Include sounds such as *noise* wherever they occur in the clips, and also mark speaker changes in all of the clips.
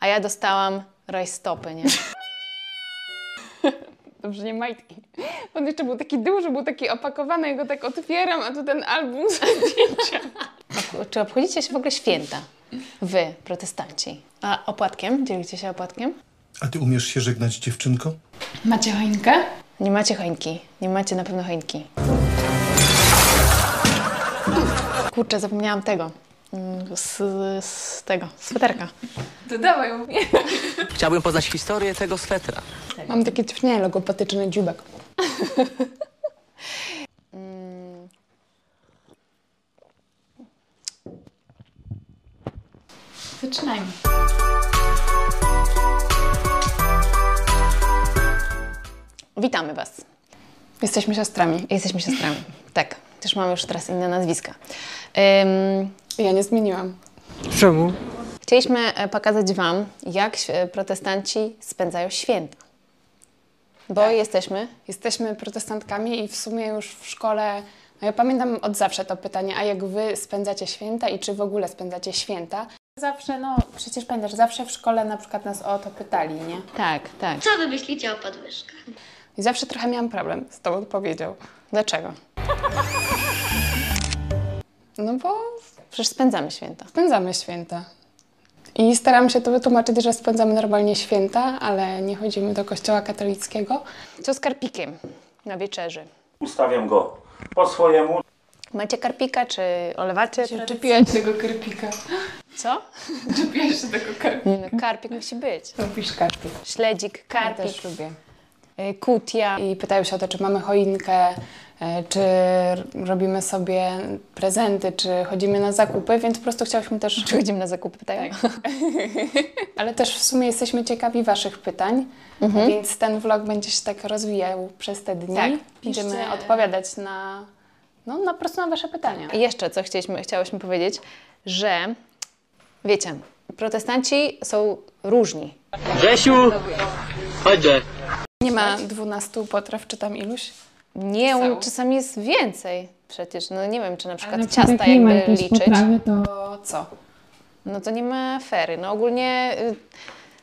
Speaker 1: a ja dostałam rajstopy, nie?
Speaker 2: *laughs* Dobrze, nie majtki. On jeszcze był taki duży, był taki opakowany, ja go tak otwieram, a tu ten album *laughs* z zdjęcia.
Speaker 1: Czy obchodzicie się w ogóle święta? Wy, protestanci. A opłatkiem? Dzielicie się opłatkiem?
Speaker 3: A ty umiesz się żegnać, dziewczynko?
Speaker 2: Macie choinkę?
Speaker 1: Nie macie choinki. Nie macie na pewno choinki. Kurczę, zapomniałam tego. Mm, Z, z tego, sweterka.
Speaker 2: To dawaj ją.
Speaker 4: Chciałbym poznać historię tego swetra.
Speaker 2: Mam takie cofnienie logopatyczne, dziubek. Zaczynajmy.
Speaker 1: Witamy Was.
Speaker 2: Jesteśmy siostrami.
Speaker 1: Jesteśmy siostrami. Tak, też mamy już teraz inne nazwiska. Ym,
Speaker 2: Ja nie zmieniłam.
Speaker 5: Czemu?
Speaker 1: chcieliśmy e, pokazać Wam, jak św- e, protestanci spędzają święta. Bo jesteśmy
Speaker 2: Jesteśmy protestantkami i w sumie już w szkole, no ja pamiętam od zawsze to pytanie, a jak wy spędzacie święta i czy w ogóle spędzacie święta? Zawsze, no przecież pamiętasz, zawsze w szkole na przykład nas o to pytali, nie?
Speaker 1: Tak, tak.
Speaker 6: Co wy myślicie o podwyżkach?
Speaker 2: I zawsze trochę miałam problem z tą odpowiedzią.
Speaker 1: Dlaczego?
Speaker 2: No bo
Speaker 1: Przecież spędzamy święta.
Speaker 2: spędzamy święta. I staram się to wytłumaczyć, że spędzamy normalnie święta, ale nie chodzimy do kościoła katolickiego.
Speaker 1: Co z karpikiem na wieczerzy?
Speaker 7: Ustawiam go po swojemu.
Speaker 1: Macie karpika, czy olewacie?
Speaker 2: Czepiać tego krypika.
Speaker 1: Co?
Speaker 2: Czepiać się tego krypika.
Speaker 1: Nie, no, karpik musi być.
Speaker 2: Lubisz karpik.
Speaker 1: Śledzik,
Speaker 2: Ja
Speaker 1: karpik,
Speaker 2: też lubię.
Speaker 1: y, kutia.
Speaker 2: i pytają się o to, czy mamy choinkę, e, czy r- robimy sobie prezenty, czy chodzimy na zakupy, więc po prostu chciałyśmy też.
Speaker 1: Przychodzimy na zakupy, pytają.
Speaker 2: Ale też w sumie jesteśmy ciekawi Waszych pytań, więc ten vlog będzie się tak rozwijał przez te dni.
Speaker 1: Tak,
Speaker 2: Będziemy
Speaker 1: piszcie.
Speaker 2: odpowiadać na, no, na po prostu na Wasze pytania.
Speaker 1: I jeszcze co chcieliśmy, chciałyśmy powiedzieć, że wiecie, protestanci są różni.
Speaker 4: Grzesiu! Chodźże.
Speaker 2: Nie ma 12 potraw, czy tam iluś?
Speaker 1: Nie,
Speaker 2: Są.
Speaker 1: czasami jest więcej przecież. No nie wiem, czy na przykład
Speaker 8: na przykład
Speaker 1: ciasta
Speaker 8: nie ma
Speaker 1: jakby
Speaker 8: jakiejś
Speaker 1: liczyć,
Speaker 8: potrawy, to
Speaker 2: To co?
Speaker 1: no to nie ma fery. No ogólnie, y,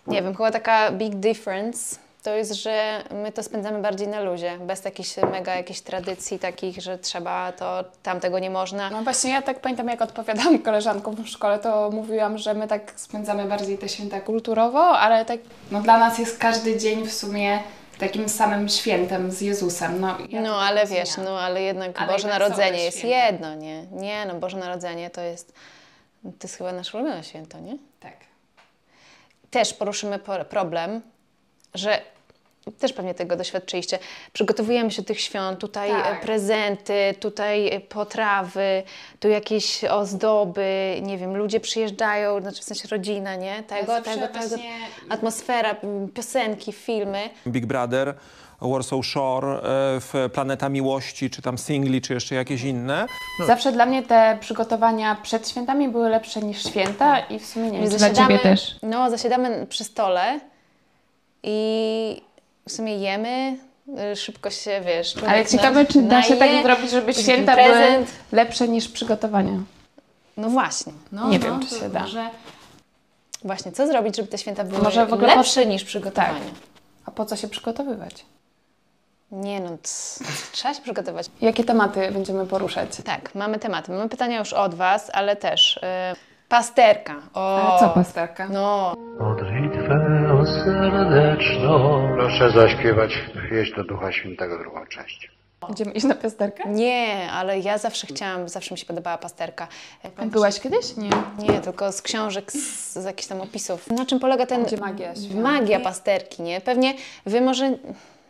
Speaker 1: nie wiem, chyba taka big difference to jest, że my to spędzamy bardziej na luzie, bez jakichś mega jakichś tradycji takich, że trzeba to, tamtego nie można.
Speaker 2: No właśnie, ja tak pamiętam, jak odpowiadałam *laughs* koleżankom w szkole, to mówiłam, że my tak spędzamy bardziej te święta kulturowo, ale tak no, dla nas jest każdy dzień w sumie takim samym świętem z Jezusem. No, ja
Speaker 1: No
Speaker 2: to tak
Speaker 1: ale
Speaker 2: rozumiem.
Speaker 1: wiesz, no ale jednak
Speaker 2: Ale
Speaker 1: Boże
Speaker 2: jednak są
Speaker 1: Narodzenie
Speaker 2: też
Speaker 1: jest
Speaker 2: święta.
Speaker 1: jedno, nie? Nie, no Boże Narodzenie to jest, to jest chyba nasze ulubione święto, nie?
Speaker 2: Tak.
Speaker 1: Też poruszymy por- problem, że też pewnie tego doświadczyliście. Przygotowujemy się do tych świąt, tutaj e,
Speaker 2: Tak.
Speaker 1: prezenty, tutaj e, potrawy, tu jakieś ozdoby, nie wiem, ludzie przyjeżdżają, znaczy w sensie rodzina, nie? Tego,
Speaker 2: zawsze
Speaker 1: tego, tego.
Speaker 2: właśnie-
Speaker 1: Atmosfera, m, piosenki, filmy.
Speaker 9: Big Brother, Warsaw Shore, e, w Planeta Miłości, czy tam Singli, czy jeszcze jakieś inne.
Speaker 2: Zawsze dla mnie te przygotowania przed świętami były lepsze niż święta i w sumie nie wiem. czy-
Speaker 8: dla ciebie też.
Speaker 1: No, zasiadamy przy stole i w sumie jemy, y, szybko się, wiesz...
Speaker 2: Ale
Speaker 1: człowiek
Speaker 2: ciekawe, czy da się
Speaker 1: Tak, naje.
Speaker 2: tak zrobić, żeby
Speaker 1: Jakiś
Speaker 2: święta były
Speaker 1: prezent.
Speaker 2: lepsze niż przygotowania.
Speaker 1: No właśnie. No,
Speaker 2: Nie
Speaker 1: no,
Speaker 2: wiem, czy się da.
Speaker 1: Właśnie, co zrobić, żeby te święta były
Speaker 2: Może w ogóle po- tak.
Speaker 1: lepsze niż przygotowania?
Speaker 2: A po co się przygotowywać?
Speaker 1: Nie no, c- trzeba się przygotować.
Speaker 2: Jakie tematy będziemy poruszać?
Speaker 1: Tak, mamy tematy. Mamy pytania już od Was, ale też... Y, pasterka. O,
Speaker 2: Tak.
Speaker 8: Ale co pasterka?
Speaker 2: Starka.
Speaker 1: No,
Speaker 10: Modlitwę o serdeczną. Proszę zaśpiewać pieśń do Ducha Świętego, drugą część.
Speaker 2: Będziemy iść na piasterkę?
Speaker 1: nie, ale ja zawsze chciałam, zawsze mi się podobała pasterka.
Speaker 2: Byłaś kiedyś? Nie.
Speaker 1: Nie, tylko z książek, z, z jakichś tam opisów. Na czym polega ten...
Speaker 2: Gdzie magia świąt.
Speaker 1: Magia pasterki, nie? Pewnie wy może...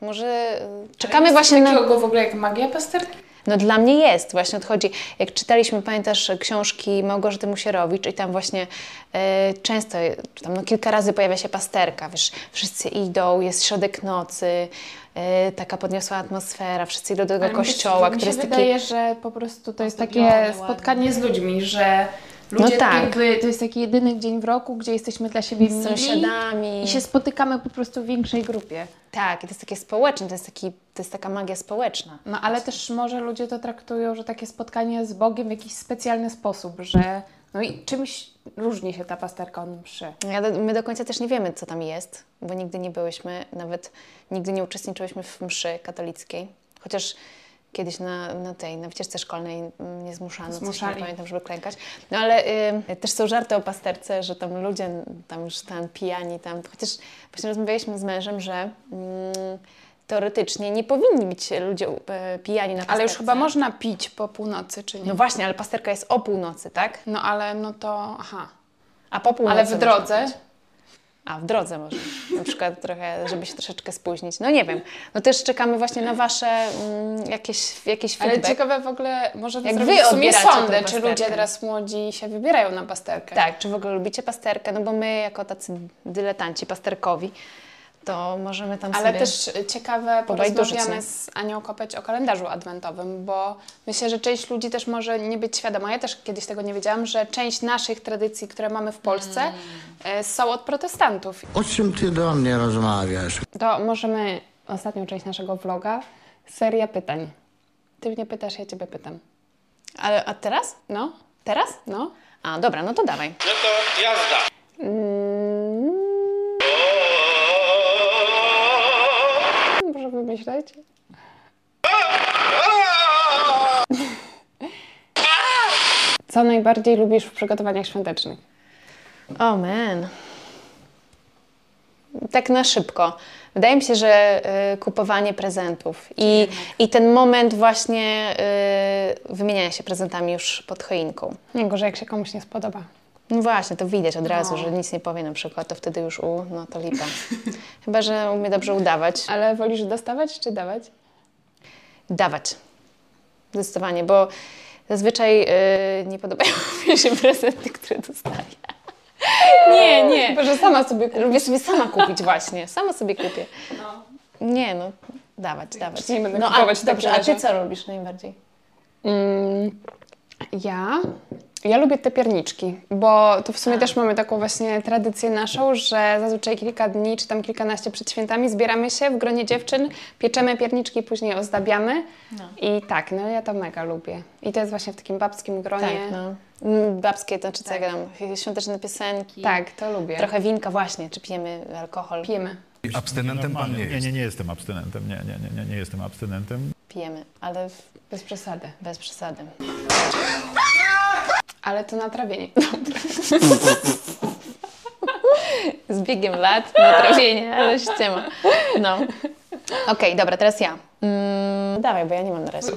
Speaker 1: Może y, czekamy właśnie na...
Speaker 2: go w ogóle jak magia pasterki?
Speaker 1: No dla mnie jest, właśnie odchodzi. Jak czytaliśmy, pamiętasz, książki Małgorzaty Musierowicz i tam właśnie e, często, e, czy tam no, kilka razy pojawia się pasterka, wiesz, wszyscy idą, jest środek nocy, e, taka podniosła atmosfera, wszyscy idą do tego kościoła, który jest taki...
Speaker 2: wydaje, że po prostu to jest takie
Speaker 1: Ozdobione,
Speaker 2: spotkanie z ludźmi, że ludzie
Speaker 1: tak.
Speaker 2: tak. jakby, to jest taki jedyny dzień w roku, gdzie jesteśmy dla siebie
Speaker 1: Z
Speaker 2: mili
Speaker 1: sąsiadami.
Speaker 2: i się spotykamy po prostu w większej grupie.
Speaker 1: Tak, i to jest takie społeczne, to jest, taki, to jest taka magia społeczna.
Speaker 2: No ale też może ludzie to traktują, że takie spotkanie z Bogiem w jakiś specjalny sposób, że no i czymś różni się ta pasterka od mszy.
Speaker 1: Ale my do końca też nie wiemy, co tam jest, bo nigdy nie byłyśmy, nawet nigdy nie uczestniczyłyśmy w mszy katolickiej. Chociaż kiedyś na, na tej, na wycieczce szkolnej mm, nie zmuszano, coś nie
Speaker 2: Zmuszali.
Speaker 1: pamiętam, żeby klękać. No ale y, też są żarty o pasterce, że tam ludzie tam już tam pijani tam, chociaż właśnie rozmawialiśmy z mężem, że mm, teoretycznie nie powinni być ludzie e, pijani na pasterce.
Speaker 2: Ale już chyba można pić po północy, czy nie?
Speaker 1: No właśnie, ale pasterka jest o północy, tak?
Speaker 2: No ale no to, aha.
Speaker 1: A po północy
Speaker 2: Ale w
Speaker 1: można
Speaker 2: drodze,
Speaker 1: A, w drodze może. Na przykład trochę, żeby się troszeczkę spóźnić. No nie wiem. No też czekamy właśnie na Wasze mm, jakieś, jakieś
Speaker 2: ale
Speaker 1: feedback.
Speaker 2: ciekawe w ogóle, może
Speaker 1: Jak
Speaker 2: zrobić
Speaker 1: wy
Speaker 2: w sumie
Speaker 1: odbieracie tą
Speaker 2: sądy, czy
Speaker 1: pasterkę?
Speaker 2: ludzie teraz młodzi się wybierają na pasterkę.
Speaker 1: Tak, czy w ogóle lubicie pasterkę? No bo my jako tacy dyletanci pasterkowi, to możemy tam
Speaker 2: Ale
Speaker 1: sobie...
Speaker 2: też ciekawe,
Speaker 1: pobajdurzyć,
Speaker 2: porozmawiamy
Speaker 1: nie?
Speaker 2: z Anią Kopeć o kalendarzu adwentowym, bo myślę, że część ludzi też może nie być świadoma. Ja też kiedyś tego nie wiedziałam, że część naszych tradycji, które mamy w Polsce, e, są od protestantów.
Speaker 5: O czym ty do mnie rozmawiasz?
Speaker 2: To możemy ostatnią część naszego vloga, seria pytań. Ty mnie pytasz, ja ciebie pytam.
Speaker 1: Ale, a teraz?
Speaker 2: No?
Speaker 1: Teraz?
Speaker 2: No?
Speaker 1: A, dobra, no to dawaj.
Speaker 2: Może wymyśleć? Co najbardziej lubisz w przygotowaniach świątecznych?
Speaker 1: O, oh, man. Tak na szybko. Wydaje mi się, że y, kupowanie prezentów i, i ten moment właśnie y, wymieniania się prezentami już pod choinką.
Speaker 2: Nie gorzej, jak się komuś nie spodoba.
Speaker 1: No właśnie, to widać od
Speaker 2: No.
Speaker 1: razu, że nic nie powie na przykład, to wtedy już u, no to lipa. *laughs* Chyba, że umie dobrze udawać.
Speaker 2: Ale wolisz dostawać czy dawać?
Speaker 1: Dawać. Zdecydowanie, bo zazwyczaj yy, nie podobają *laughs* mi się prezenty, które dostaję. Nie, nie.
Speaker 2: Boże, sama sobie
Speaker 1: Lubię sobie sama kupić właśnie, sama sobie kupię. Nie no, dawać, dawać.
Speaker 2: nie będę
Speaker 1: no,
Speaker 2: kupować w
Speaker 1: a,
Speaker 2: takim
Speaker 1: dobrze, a Ty
Speaker 2: razie.
Speaker 1: co lubisz najbardziej?
Speaker 2: Ja? Ja lubię te pierniczki, bo tu w sumie też mamy taką właśnie tradycję naszą, że zazwyczaj kilka dni czy tam kilkanaście przed świętami zbieramy się w gronie dziewczyn, pieczemy pierniczki, później ozdabiamy. I tak, no ja to mega lubię. I to jest właśnie w takim babskim gronie.
Speaker 1: Tak,
Speaker 2: Tak,
Speaker 1: no. Mm, Babskie, to czy co ja gram, świąteczne piosenki.
Speaker 2: to lubię.
Speaker 1: Trochę winka właśnie, czy pijemy alkohol.
Speaker 2: Tak. pijemy.
Speaker 6: Abstynentem pan nie jest. Nie, nie, nie jestem abstynentem. Nie, nie, nie, nie, nie jestem abstynentem.
Speaker 1: Pijemy, ale w,
Speaker 2: Bez przesady.
Speaker 1: bez przesady.
Speaker 2: Ale to na *laughs* trawienie.
Speaker 1: Z biegiem lat, natrawienie, ale ściema. No. Okej, dobra, teraz ja. Mm, dawaj, bo ja nie mam na razie.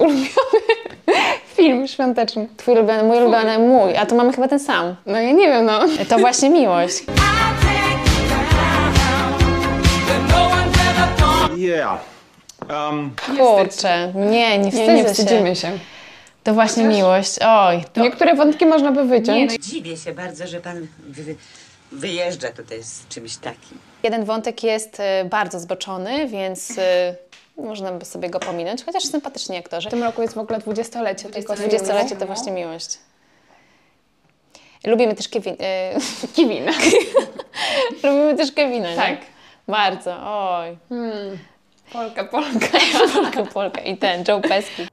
Speaker 2: Film świąteczny.
Speaker 1: Twój ulubiony, mój ulubiony, mój. A to mamy chyba ten sam.
Speaker 2: No ja nie wiem, no.
Speaker 1: To właśnie miłość.
Speaker 8: Yeah. Um,
Speaker 1: Kurczę, nie, nie wstydzę
Speaker 2: Nie, nie
Speaker 1: się.
Speaker 2: wstydzimy się.
Speaker 1: To właśnie miłość. Oj, to... no
Speaker 2: Niektóre wątki można by wyciąć.
Speaker 11: Dziwię się bardzo, że pan wy, wyjeżdża tutaj z czymś takim.
Speaker 1: Jeden wątek jest e, bardzo zboczony, więc e, można by sobie go pominąć, chociaż sympatyczni aktorzy.
Speaker 2: W tym roku jest w ogóle dwudziestolecie tego filmu.
Speaker 1: 20-lecie to właśnie miłość. Lubimy też Kevin, e, *laughs*
Speaker 2: *laughs* Kiwin.
Speaker 1: Lubimy też Kevina, nie?
Speaker 2: Tak. Hmm.
Speaker 1: Bardzo, oj.
Speaker 2: Polka, Polka.
Speaker 1: *laughs* Polka, Polka i ten, Joe Pesky.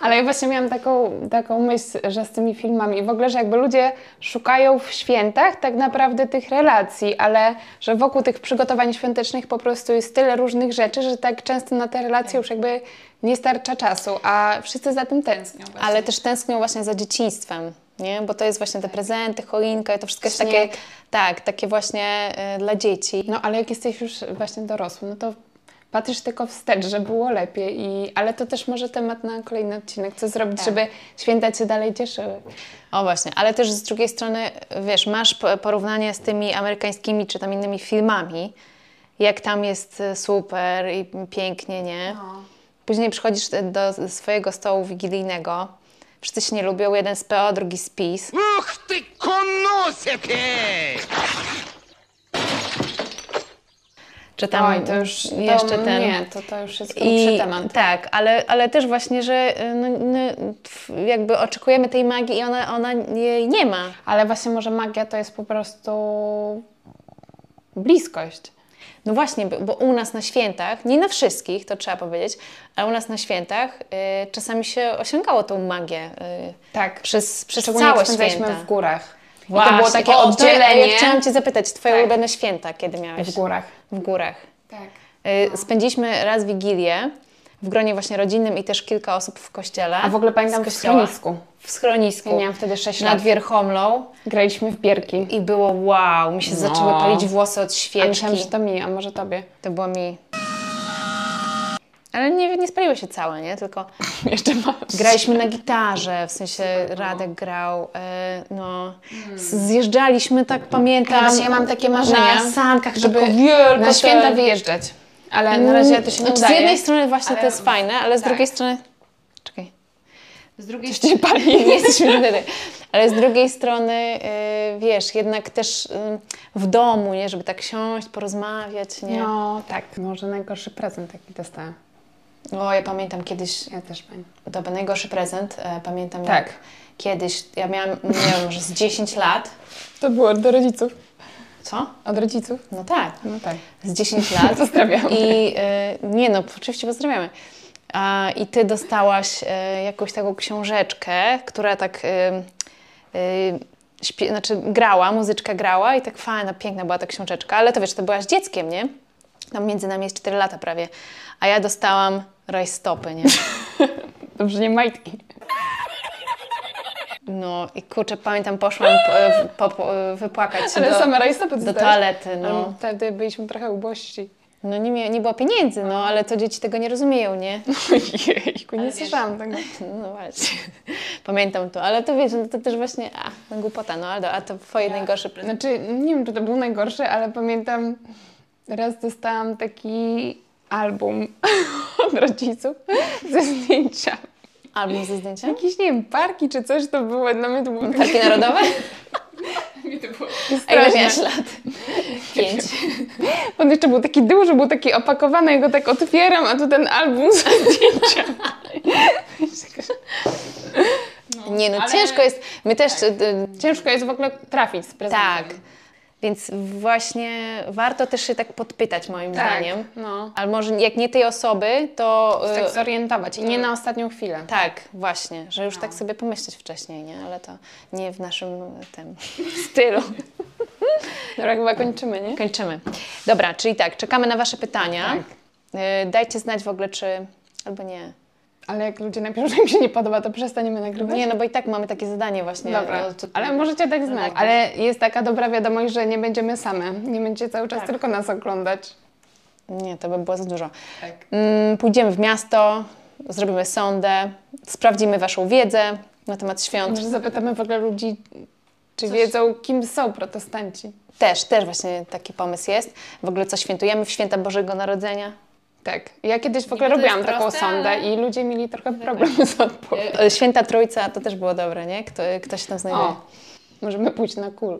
Speaker 2: Ale ja właśnie miałam taką, taką myśl, że z tymi filmami w ogóle, że jakby ludzie szukają w świętach tak naprawdę tych relacji, ale że wokół tych przygotowań świątecznych po prostu jest tyle różnych rzeczy, że tak często na te relacje już jakby nie starcza czasu, a wszyscy za tym tęsknią. Ale
Speaker 1: Ale też tęsknią właśnie za dzieciństwem, nie? Bo to jest właśnie te prezenty, choinka i to wszystko jest takie,
Speaker 2: Śnieg.
Speaker 1: tak, takie właśnie e, dla dzieci.
Speaker 2: No ale jak jesteś już właśnie dorosły, no to patrzysz tylko wstecz, że było lepiej. I... Ale to też może temat na kolejny odcinek, co zrobić, żeby święta cię dalej cieszyły.
Speaker 1: Tak. O właśnie, ale też z drugiej strony, wiesz, masz po- porównanie z tymi amerykańskimi czy tam innymi filmami, jak tam jest e, super i pięknie, nie?
Speaker 2: No.
Speaker 1: Później przychodzisz e, do swojego stołu wigilijnego, wszyscy się nie lubią, jeden z PO, drugi z PiS.
Speaker 5: Uch ty konusie pies!
Speaker 1: Czy tam
Speaker 2: Oj, to już to no
Speaker 1: jeszcze ten...
Speaker 2: Nie, to, to już jest
Speaker 1: I
Speaker 2: grubszy temat.
Speaker 1: tak, ale, ale też właśnie, że y, no, no, tf- jakby oczekujemy tej magii i ona, ona jej nie ma.
Speaker 2: Ale właśnie może magia to jest po prostu bliskość.
Speaker 1: No właśnie, bo bo u nas na świętach, nie na wszystkich, to trzeba powiedzieć, ale u nas na świętach y, czasami się osiągało tą magię. y,
Speaker 2: Tak.
Speaker 1: Przez, przez
Speaker 2: Szczególnie
Speaker 1: całe
Speaker 2: jak spędzaliśmy
Speaker 1: święta.
Speaker 2: w górach.
Speaker 1: Właśnie,
Speaker 2: I to było takie
Speaker 1: o, to ja-
Speaker 2: oddzielenie
Speaker 1: Ja chciałam Cię zapytać, Twoje
Speaker 2: Tak.
Speaker 1: ulubione święta, kiedy miałeś?
Speaker 2: w górach.
Speaker 1: W górach.
Speaker 2: Tak.
Speaker 1: Y, Spędziliśmy raz Wigilię w gronie właśnie rodzinnym i też kilka osób w kościele.
Speaker 2: A w ogóle pamiętam
Speaker 1: Z
Speaker 2: w
Speaker 1: kościoła.
Speaker 2: schronisku.
Speaker 1: W schronisku.
Speaker 2: Ja miałam wtedy 6
Speaker 1: nad
Speaker 2: lat.
Speaker 1: Wierchomlą
Speaker 2: Graliśmy w bierki.
Speaker 1: i było wow, mi się
Speaker 2: No.
Speaker 1: zaczęły palić włosy od
Speaker 2: A
Speaker 1: świeczki.
Speaker 2: myślałam, że to mi, a może tobie. *laughs*
Speaker 1: To było mi... Ale nie, nie spaliły się całe, nie? Tylko
Speaker 2: Jeszcze masz.
Speaker 1: graliśmy na gitarze, w sensie
Speaker 2: no.
Speaker 1: Radek grał, e, no. Zjeżdżaliśmy, tak pamiętam,
Speaker 2: Mhm. Właśnie ja mam takie marzenia,
Speaker 1: na sankach,
Speaker 2: żeby
Speaker 1: taką wielką
Speaker 2: na święta
Speaker 1: tę-
Speaker 2: wyjeżdżać. Ale na razie to się nie
Speaker 1: Znaczy,
Speaker 2: udaje.
Speaker 1: Z jednej strony właśnie
Speaker 2: ale-
Speaker 1: to jest fajne, ale z
Speaker 2: tak.
Speaker 1: drugiej strony... Czekaj. Z drugiej
Speaker 2: Coś cię pali.
Speaker 1: *laughs* nie jesteśmy wtedy. Ale z drugiej strony, y, wiesz, jednak też y, w domu, nie, żeby tak siąść, porozmawiać, nie?
Speaker 2: No tak, może najgorszy prezent jaki dostałam.
Speaker 1: O, ja pamiętam kiedyś,
Speaker 2: Ja też pani.
Speaker 1: to był najgorszy prezent, e, pamiętam
Speaker 2: Tak.
Speaker 1: jak kiedyś, ja miałam, nie wiem, może z 10 lat,
Speaker 2: To było od rodziców.
Speaker 1: co?
Speaker 2: Od rodziców?
Speaker 1: No tak,
Speaker 2: No tak.
Speaker 1: z
Speaker 2: *laughs*
Speaker 1: 10 lat.
Speaker 2: Pozdrawiamy.
Speaker 1: I e, nie no, oczywiście pozdrawiamy. A, I ty dostałaś e, jakąś taką książeczkę, która tak e, e, śpie, znaczy grała, muzyczka grała i tak fajna, piękna była ta książeczka, ale to wiesz, to byłaś dzieckiem, nie? Tam między nami jest 4 lata prawie. A ja dostałam rajstopy,
Speaker 2: *laughs*
Speaker 1: nie?
Speaker 2: Dobrze, nie majtki.
Speaker 1: No i kurczę, pamiętam, poszłam po, po, po, wypłakać się
Speaker 2: Ale
Speaker 1: do,
Speaker 2: same rajstopy
Speaker 1: do
Speaker 2: dostałeś. Mm.
Speaker 1: toalety, no.
Speaker 2: Ale Um, Wtedy byliśmy trochę ubości.
Speaker 1: No nie, mia- nie było pieniędzy, no, ale to dzieci tego nie rozumieją,
Speaker 2: *laughs*
Speaker 1: nie?
Speaker 2: Jejku, nie słyszałam tego.
Speaker 1: *laughs* No właśnie, pamiętam to, ale to wiesz, no to też właśnie, a, głupota, no ale do- a to twoje najgorsze prezent.
Speaker 2: Znaczy, nie wiem, czy to był najgorszy, ale pamiętam, raz dostałam taki album *laughs* od rodziców *laughs* ze zdjęcia. Znaczy-
Speaker 1: Album ze zdjęciem?
Speaker 2: Jakieś, nie wiem, parki czy coś to było. Dla mnie to było takie
Speaker 1: Parki Narodowe?
Speaker 2: *laughs*
Speaker 1: A ile miałeś
Speaker 2: straszne. *laughs*
Speaker 1: lat? Pięć.
Speaker 2: On jeszcze był taki duży, był taki opakowany, ja go tak otwieram, a tu ten album *laughs* ze zdjęcia.
Speaker 1: Nie no,
Speaker 2: ale- tak.
Speaker 1: ciężko jest, my też, y,
Speaker 2: Ciężko jest w ogóle trafić z prezentem.
Speaker 1: tak, więc właśnie warto też się tak podpytać moim
Speaker 2: Tak,
Speaker 1: zdaniem.
Speaker 2: no.
Speaker 1: Ale może jak nie tej osoby, to... y,
Speaker 2: Tak zorientować i nie na ostatnią chwilę.
Speaker 1: Tak, właśnie, że już
Speaker 2: No.
Speaker 1: tak sobie pomyśleć wcześniej, nie? Ale to nie w naszym y, tym *laughs* stylu.
Speaker 2: Dobra, chyba kończymy, nie?
Speaker 1: Kończymy. Dobra, czyli tak, czekamy na Wasze pytania.
Speaker 2: Tak.
Speaker 1: Y, Dajcie znać w ogóle, czy. albo nie.
Speaker 2: Ale jak ludzie napiszą, że im się nie podoba, to przestaniemy nagrywać.
Speaker 1: Nie, no bo i tak mamy takie zadanie właśnie.
Speaker 2: Dobra,
Speaker 1: no, to-
Speaker 2: ale możecie tak znać. Ale jest taka dobra wiadomość, że nie będziemy same. Nie będziecie cały czas tylko nas oglądać.
Speaker 1: Nie, to by było za dużo.
Speaker 2: Tak.
Speaker 1: Mm, Pójdziemy w miasto, zrobimy sondę, sprawdzimy Waszą wiedzę na temat świąt.
Speaker 2: Może zapytamy w ogóle ludzi, czy wiedzą, kim są protestanci.
Speaker 1: Też, też właśnie taki pomysł jest. W ogóle co świętujemy w święta Bożego Narodzenia.
Speaker 2: Tak. Ja kiedyś w ogóle
Speaker 1: Niby to
Speaker 2: robiłam
Speaker 1: jest
Speaker 2: taką
Speaker 1: proste,
Speaker 2: sondę
Speaker 1: ale-
Speaker 2: i ludzie mieli trochę problemy z odpowiedzią.
Speaker 1: Y, y, Święta Trójca, to też było dobre, nie? Kto, kto się tam znajduje.
Speaker 2: O, możemy pójść na kul.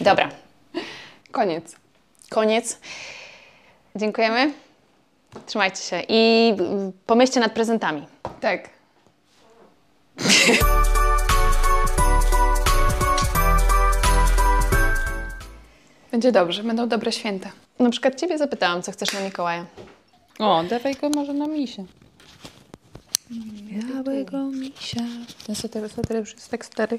Speaker 1: Dobra,
Speaker 2: Koniec.
Speaker 1: koniec. Dziękujemy. Trzymajcie się i mm, pomyślcie nad prezentami.
Speaker 2: Tak. Będzie dobrze, będą dobre święta.
Speaker 1: Na przykład ciebie zapytałam, co chcesz na Mikołaja.
Speaker 2: O, dawaj go może na misie.
Speaker 12: Białego misia.
Speaker 2: Ten sweter, sweter już jest tak stary.